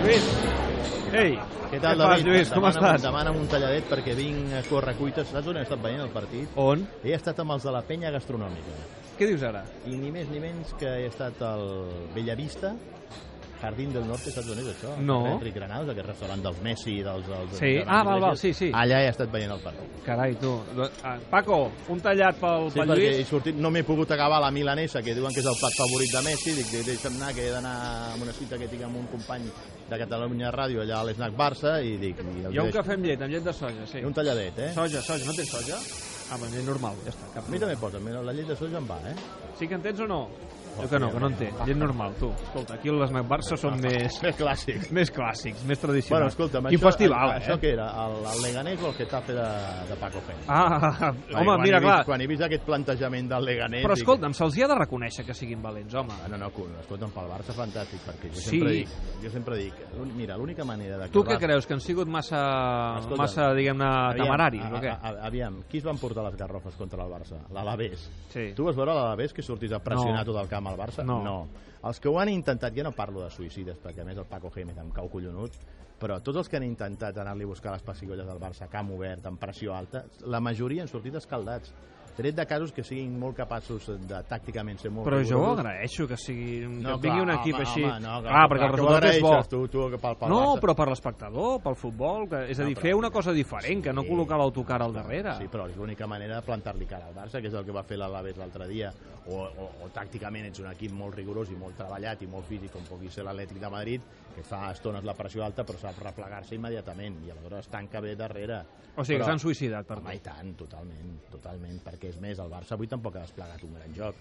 Lluís. Ei, Què tal, Què fas, David? Lluís? Com Demana- estàs? Demana un talladet perquè vinc a córrer cuites. Saps on he estat veient el partit? On? He estat amb els de la penya gastronòmica. Què dius ara? I ni més ni menys que he estat al Bellavista, Jardín del Norte, saps on és això? No. Enric Granados, aquest restaurant dels Messi, dels... dels Sí. dels Ah, val, val, Iglesias. sí, sí. Allà he estat veient el partit. Carai, tu. Do- ah, Paco, un tallat pel, Sí, pel perquè he Lluís. sortit, no m'he pogut acabar la milanesa, que diuen que és el plat favorit de Messi, dic, dic, deixa'm anar, que he d'anar amb una cita que tinc amb un company de Catalunya Ràdio allà a l'Snac Barça, i dic... I el Jo un deixo. cafè amb llet, amb llet de soja, sí. I un talladet, eh? Soja, soja, no tens soja? Ah, doncs és normal, ja està. Cap A mi també posa, mira, la llet de soja em va, eh? problema. Sí que en tens o no? Jo Oh, que no, sí, que no en home. té. Llet normal, tu. Escolta, aquí les Snack Barça són més, És clàssic. més clàssics, més Bueno, tradicionals. escolta'm, I festival, això eh? què era? El, el Leganés o el Getafe de, de Paco Peña? Ah, Perquè home, quan he mira, vist, clar. Quan he vist aquest plantejament del Leganés... Però dic- escolta'm, se'ls hi ha de reconèixer que siguin valents, home. Ah, No, no, cul, escolta'm, pel Barça fantàstic, perquè jo Sí. sempre dic, jo sempre dic, l'únic- mira, l'única manera de... Tu què creus, que han sigut massa, Escolta'm, massa diguem-ne, temeraris o què? A, a, aviam, qui es van portar les garrofes contra el Barça? L'Alavés. Sí. Tu vas veure l'Alavés que sortís a pressionar No. tot el camp al Barça? No. Els que ho han intentat, ja no parlo de suïcides, perquè a més el Paco Gémez em cau collonut, però tots els que han intentat anar-li a buscar les pessigolles del Barça a camp obert, amb pressió alta, la majoria han sortit escaldats. Tret de casos que siguin molt capaços de tàcticament ser molt Però jo ho rigorosos. agraeixo, que, sigui, No, que vingui un clar, equip home, així. Home, no, clar, perquè el que ho resultat és bo. agraeixes Tu, tu, que pel, pel no, Barça. però per l'espectador, pel futbol, que, és a dir, No, però- fer una cosa diferent, que no Sí. col·locar l'autocar al darrere. Sí, però és l'única manera de plantar-li cara al Barça, que és el que va fer l'Alaves l'altre dia. O, o, o tàcticament ets un equip molt rigorós i molt treballat i molt físic, com pugui ser l'Atlètic de Madrid, que fa estones la pressió alta però sap replegar-se immediatament i aleshores tanca bé darrere. o sigui, que Però- s'han suïcidat, per Home, mi. i tant, totalment, totalment, perquè és més, el Barça avui tampoc ha desplegat un gran joc.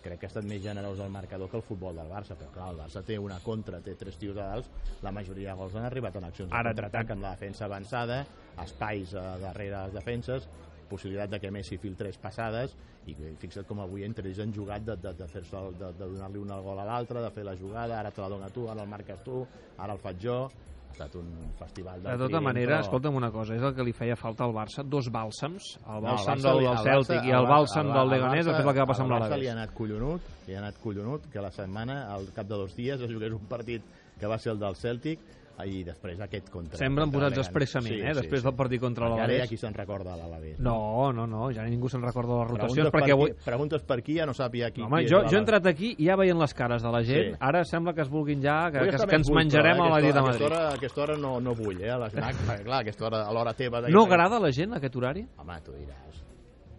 Crec que ha estat més generós el marcador que el futbol del Barça, però clar, el Barça té una contra, té tres tios a dalt, la majoria de gols han arribat en accions Ara- de contraatac amb la defensa avançada, espais eh, darrere les defenses, possibilitat de que Messi filtrés passades i que, fixa't com avui entre ells han jugat de, de, de, fer de, de donar-li un gol a l'altre, de fer la jugada, ara te la dona tu, ara el marques tu, ara el faig jo ha estat un festival De del tota crim, manera, però- escolta'm una cosa, és el que li feia falta al Barça, dos bàlsams, el No, al bàlsam Barça del, li- del al Celtic Barça- i al el Bar- bàlsam al Bar- del Leganés, al que és el que va Barça- passar amb al Barça li ha l'Alaves. anat collonut, li ha anat collonut que la setmana, al cap de dos dies, es jugués un partit que va ser el del Celtic i després aquest contra. Semblen contra posats l'Egan. expressament, eh, després del partit contra Perquè Ara ja l'Alaves. qui se'n recorda de l'Alaves. No, no, no, ja ningú se'n recorda de les Preguntes rotacions, per, perquè qui, avui... preguntes per qui ja no sap ja qui, No, home, jo, qui és jo he l'Alaves. entrat aquí i ja veient les cares de la gent, Sí. ara sembla que es vulguin ja, que, Avui que, està que ens menys buit, menjarem però, a eh, la aquesta- nit de Aquesta Madrid. hora, aquesta hora no, no vull, eh, a l'esnac, perquè clar, aquesta hora, a l'hora teva... No agrada a la gent aquest horari? Home, tu diràs.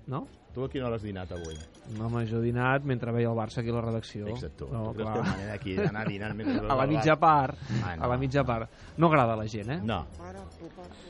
No? Tu a quina hora has dinat avui? No, home, jo he dinat mentre veia el Barça aquí a la redacció. Fixa't tu. No, tu creus clar. que hi ha manera aquí d'anar dinant... mentre veus a la el mitja Barça? part, Ah, no. a la mitja part. No agrada a la gent, eh? No,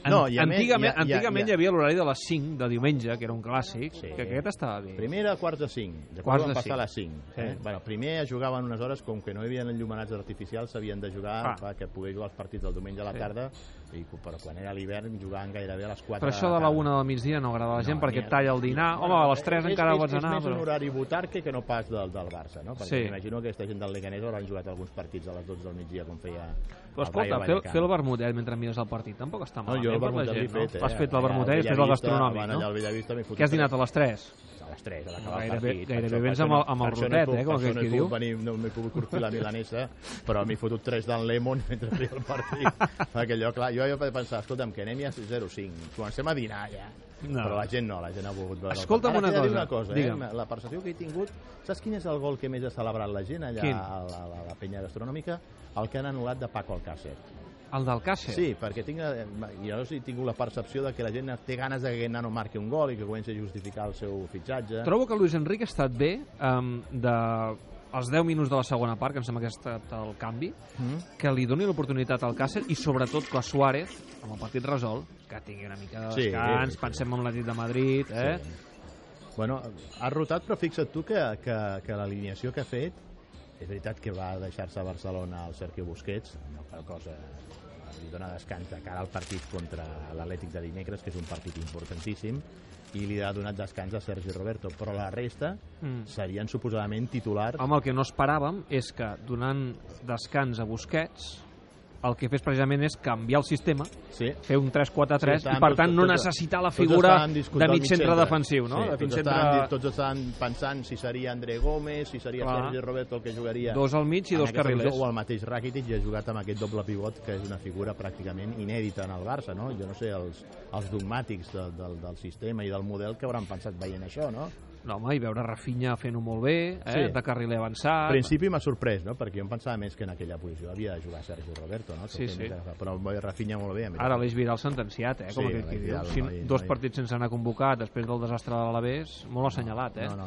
An- No, i a antigament, més, hi ha- hi ha- antigament hi hi ha- havia l'horari de les 5 de diumenge, que era un clàssic, Sí. que aquest estava bé. Primera, quarts de cinc. Després Quarts van de passar cinc. a les cinc. Eh? Sí. Bueno, primer es jugaven unes hores, com que no hi havia enllumenats artificials, s'havien de jugar Ah. ah. que pogués jugar els partits del diumenge a la Sí. tarda, i, però quan era l'hivern jugaven gairebé a les 4 Però això de la una del migdia no agrada a la gent No, perquè ni a- et talla el dinar. Home, a les 3 és, encara és, pots anar. És més un Però... horari butarque que no pas del, del Barça, no? Perquè Sí. m'imagino que aquesta gent del Leganés hauran jugat alguns partits a les 12 del migdia, com feia Però escolta, fer, fer el vermutet mentre mires el partit tampoc està No, malament jo el per la vermutet gent, l'he fet, no? eh? Has fet el Allà al vermutet i després el Bellavista, gastronòmic, van allà no? al Bellavista, m'he fotut Què has dinat tres- a les 3? a les 3, a l'acabar el Gairebé- partit. Per gairebé això- per vens això amb el- no- amb el per això rotet, no eh, he pogut- com per això aquell no qui he pogut diu. Venir, no m'he pogut curtir la milanesa, però m'he fotut 3 d'en Lemon mentre feia el partit. Perquè allò, clar, jo, jo vaig pensar, escolta'm, que anem ja a 0-5, comencem a dinar ja. No. Però la gent no, la gent ha volgut veure. el Escolta'm partit. Ara una t'he de dir cosa, una cosa eh? digue'm. La percepció que he tingut, saps quin és el gol que més ha celebrat la gent allà Quin? a la, a la, a la penya gastronòmica? El que han anul·lat de Paco Alcácer. El del Càcer? Sí, perquè tinc, eh, jo sí he tingut la percepció de que la gent té ganes de que aquest nano marqui un gol i que comenci a justificar el seu fitxatge. Trobo que Luis Enrique ha estat bé um, de els 10 minuts de la segona part, que em sembla que ha estat el canvi, Mm? que li doni l'oportunitat al Càcer i sobretot que a Suárez, amb el partit resolt, que tingui una mica de Sí, descans, sí, sí. pensem en l'equip de Madrid, eh? Sí. Bueno, ha rotat, però fixa't tu que, que, que l'alineació que ha fet és veritat que va deixar-se a Barcelona el Sergio Busquets, no per cosa li dona descans de cara al partit contra l'Atlètic de dimecres, que és un partit importantíssim, i li ha donat descans a Sergi Roberto, però la resta Mm. Ah, serien suposadament titulars Home, el que no esperàvem és que donant descans a Busquets el que fes precisament és canviar el sistema, Sí. fer un 3-4-3 Sí, estàvem i per tots- tant no tots- necessitar la tots figura estàvem discutant de el mig centre defensiu, no? Sí, de mig tots, centre estaven, tots estaven pensant si seria André Gómez, si seria Clar. Sergi Roberto el que jugaria dos al mig i en dos aquesta carrilers. posició, O el mateix Rakitic ja ha jugat amb aquest doble pivot, que és una figura pràcticament inèdita en el Barça, no? Jo no sé, els, els dogmàtics de, del, del sistema i del model que hauran pensat veient això, no? No, home, i veure Rafinha fent-ho molt bé, eh? Sí. de carriler Al avançat. principi m'ha sorprès, no? Perquè jo em pensava més que en aquella posició havia de jugar Sergi Roberto, no? Sí, sí. Però el Rafinha molt bé. a mi. Ara l'Eix Viral sentenciat, eh? Com Sí, aquell qui l'Eix diu. Vidal, Si noi, dos noi. partits sense anar convocat després del desastre de l'Alavés, molt assenyalat, eh? No, no,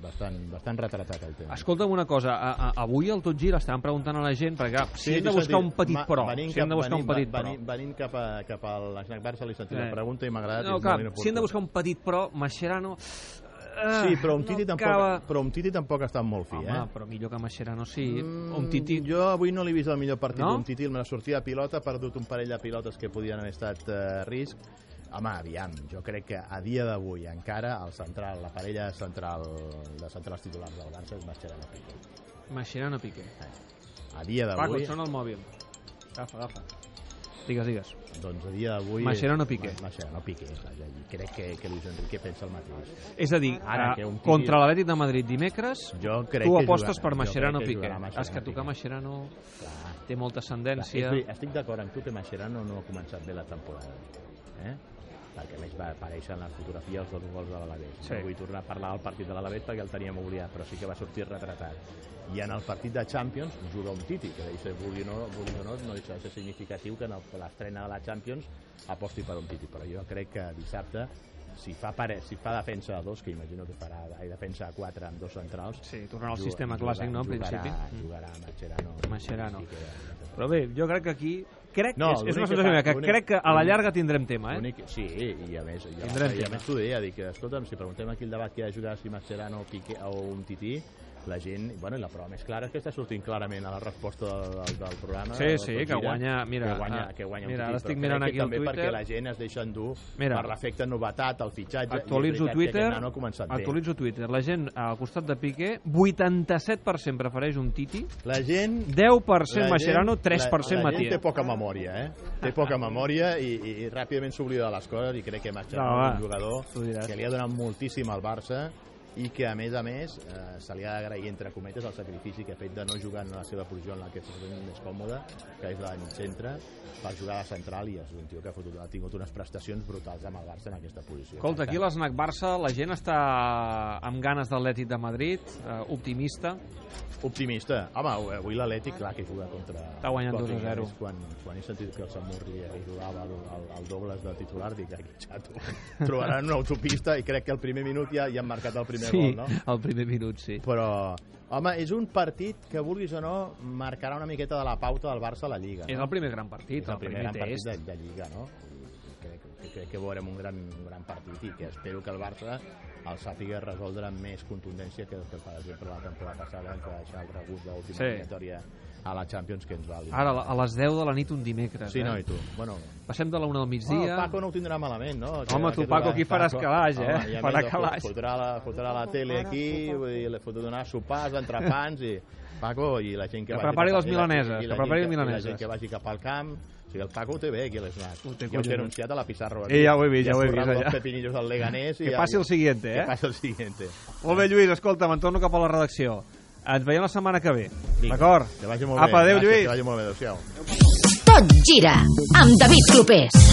bastant, bastant retratat el tema. Escolta'm una cosa, a, a, avui al Tot Gira estaven preguntant a la gent, perquè clar, si hem de t'ho buscar sentim. un petit Ma- però, venint si hem de cap- buscar un venint- petit però. venint, venint cap a, cap a l'Snac Barça li he sentit Eh. la pregunta i m'ha agradat. No, és clar, molt inoportú. si hem de buscar un petit però, Mascherano... eh, Sí, però un Titi, no tampoc, acaba... però un titi tampoc ha estat molt fi, Home, eh? però millor que Mascherano sí. Mm, un Titi... Jo avui no l'he vist el millor partit No? d'un Titi, me la sortida de pilota, ha perdut un parell de pilotes que podien haver estat eh, a risc. Home, aviam, jo crec que a dia d'avui encara el central, la parella central de centrals titulars del Barça és Mascherano Piqué. Mascherano Piqué. A dia Paco, d'avui, et sona el mòbil. Agafa, agafa. Digues, digues. doncs a dia d'avui... Mascherano Piqué. Ma- Mascherano Piqué, vaja, i crec que, que Luis Enrique pensa el mateix. És a dir, Ah, Ara eh, que un Titi- contra l'Atlètic de Madrid dimecres, Jo crec tu que apostes jugarà, per jo Mascherano crec que Piqué. jugarà Mascherano És que tocar Piqué. Mascherano Clar. té molta Clar, és ascendència. veritat, Estic d'acord amb tu que Mascherano no ha començat bé la temporada. Eh? perquè a més va aparèixer en la fotografia els dos gols de l'Alavés. Sí. No vull tornar a parlar del partit de l'Alavés perquè el teníem oblidat, però sí que va sortir retratat. I en el partit de Champions juga un Titi, que deixa, vulgui o no, vulgui o no, no deixa de ser significatiu que en el- l'estrena de la Champions aposti per un Titi. Però jo crec que dissabte, si fa, pare, si fa defensa a dos, que imagino que farà i defensa a quatre amb dos centrals, Sí, tornarà al juga- sistema juga- clàssic, no, en jugarà, principi. Jugarà Mascherano. i Mascherano. Piqué. Però bé, jo crec que aquí... Crec, No, no, és, és l'únic una que sensació meva, fa- que l'únic- crec que a la llarga tindrem tema, eh? Bonic, sí, i a més, jo, Tindrem i a tema. més t'ho deia, dic, escolta'm, si preguntem aquí el debat que hi ha de jugar si Mascherano o, Piqué, o un Tití, la gent, bueno, i la prova més clara és que està sortint clarament a la resposta del, del, del programa. Sí, del sí, Tot que Gira, guanya- mira, que guanya, ah, que guanya mira, un ara Tití, estic però mirant crec que aquí el també perquè Twitter. la gent es deixa endur Mira. per l'efecte novetat, el fitxatge, Actualitzo i és veritat que Twitter, aquest nano ha començat bé. actualitzo Twitter. La gent al costat de Piqué, 87% prefereix un Titi, La gent 10% La Mascherano, gent- 3% la, la gent té Matié. poca memòria, eh? Té poca memòria i, i, i ràpidament s'oblida de les coses i crec que Mascherano No, és un va, t'ho diràs. jugador que li ha donat moltíssim al Barça i que, a més a més, eh, se li ha d'agrair, entre cometes, el sacrifici que ha fet de no jugar en la seva posició en la que s'ha sentit més còmoda, que és la del mig centre, per jugar a la central i és un tio que ha, fotut, ha tingut unes prestacions brutals amb el Barça en aquesta posició. Escolta, aquí a l'Snac Barça la gent està amb ganes d'Atlètic de Madrid, eh, optimista. Optimista. Home, avui l'Atlètic, clar, que juga contra... Està guanyant 2 contra a 0. Leganés. Quan, quan he sentit que el Samurri jugava al, al, al dobles de titular, dic, ai, xato, trobaran una autopista i crec que el primer minut ja, ja han marcat el primer gol, no? al primer minut, sí. Però, home, és un partit que, vulguis o no, marcarà una miqueta de la pauta del Barça a la Lliga. És No? el primer gran partit, És el primer gran test. partit de, de Lliga, no? I Crec, que- crec que veurem un gran, un gran partit i que espero que el Barça el sàpiga resoldre amb més contundència que, que per exemple, la temporada passada que va deixar el rebut de Sí. l'última sí. eliminatòria a la Champions que ens va eliminar. Ara, a les 10 de la nit un dimecres. Ah, Sí, eh? no, i tu? Bueno, Passem de la 1 del oh, migdia. el Paco no ho tindrà malament, no? Home, tu, Paco, aquí faràs calaix, eh? i a Farà més, calaix. Fotrà la, fotrà la tele aquí, vull dir, li fotrà donar sopars, entrepans i... Paco, i la gent que, Que vagi prepari les cap- i la- i la milaneses, gent que prepari les i milaneses. La gent que vagi cap al camp, o sigui, el Paco ho té bé, aquí a l'Snac. Ho té Jo us he collonut. anunciat a la pissarra. Eh, ja ho he vist, ja ho he vist, Ja allà. els pepinillos del Leganés. i Que ja- passi el siguiente, eh? Que passi el siguiente. Molt bé, Lluís, escolta, me'n torno cap a la redacció. Ens veiem la setmana que ve. Vinga, D'acord? Que vagi molt bé. Apa, adéu, Gràcies, Lluís. Que vagi molt bé, adéu-siau. Tot gira amb David Clopés.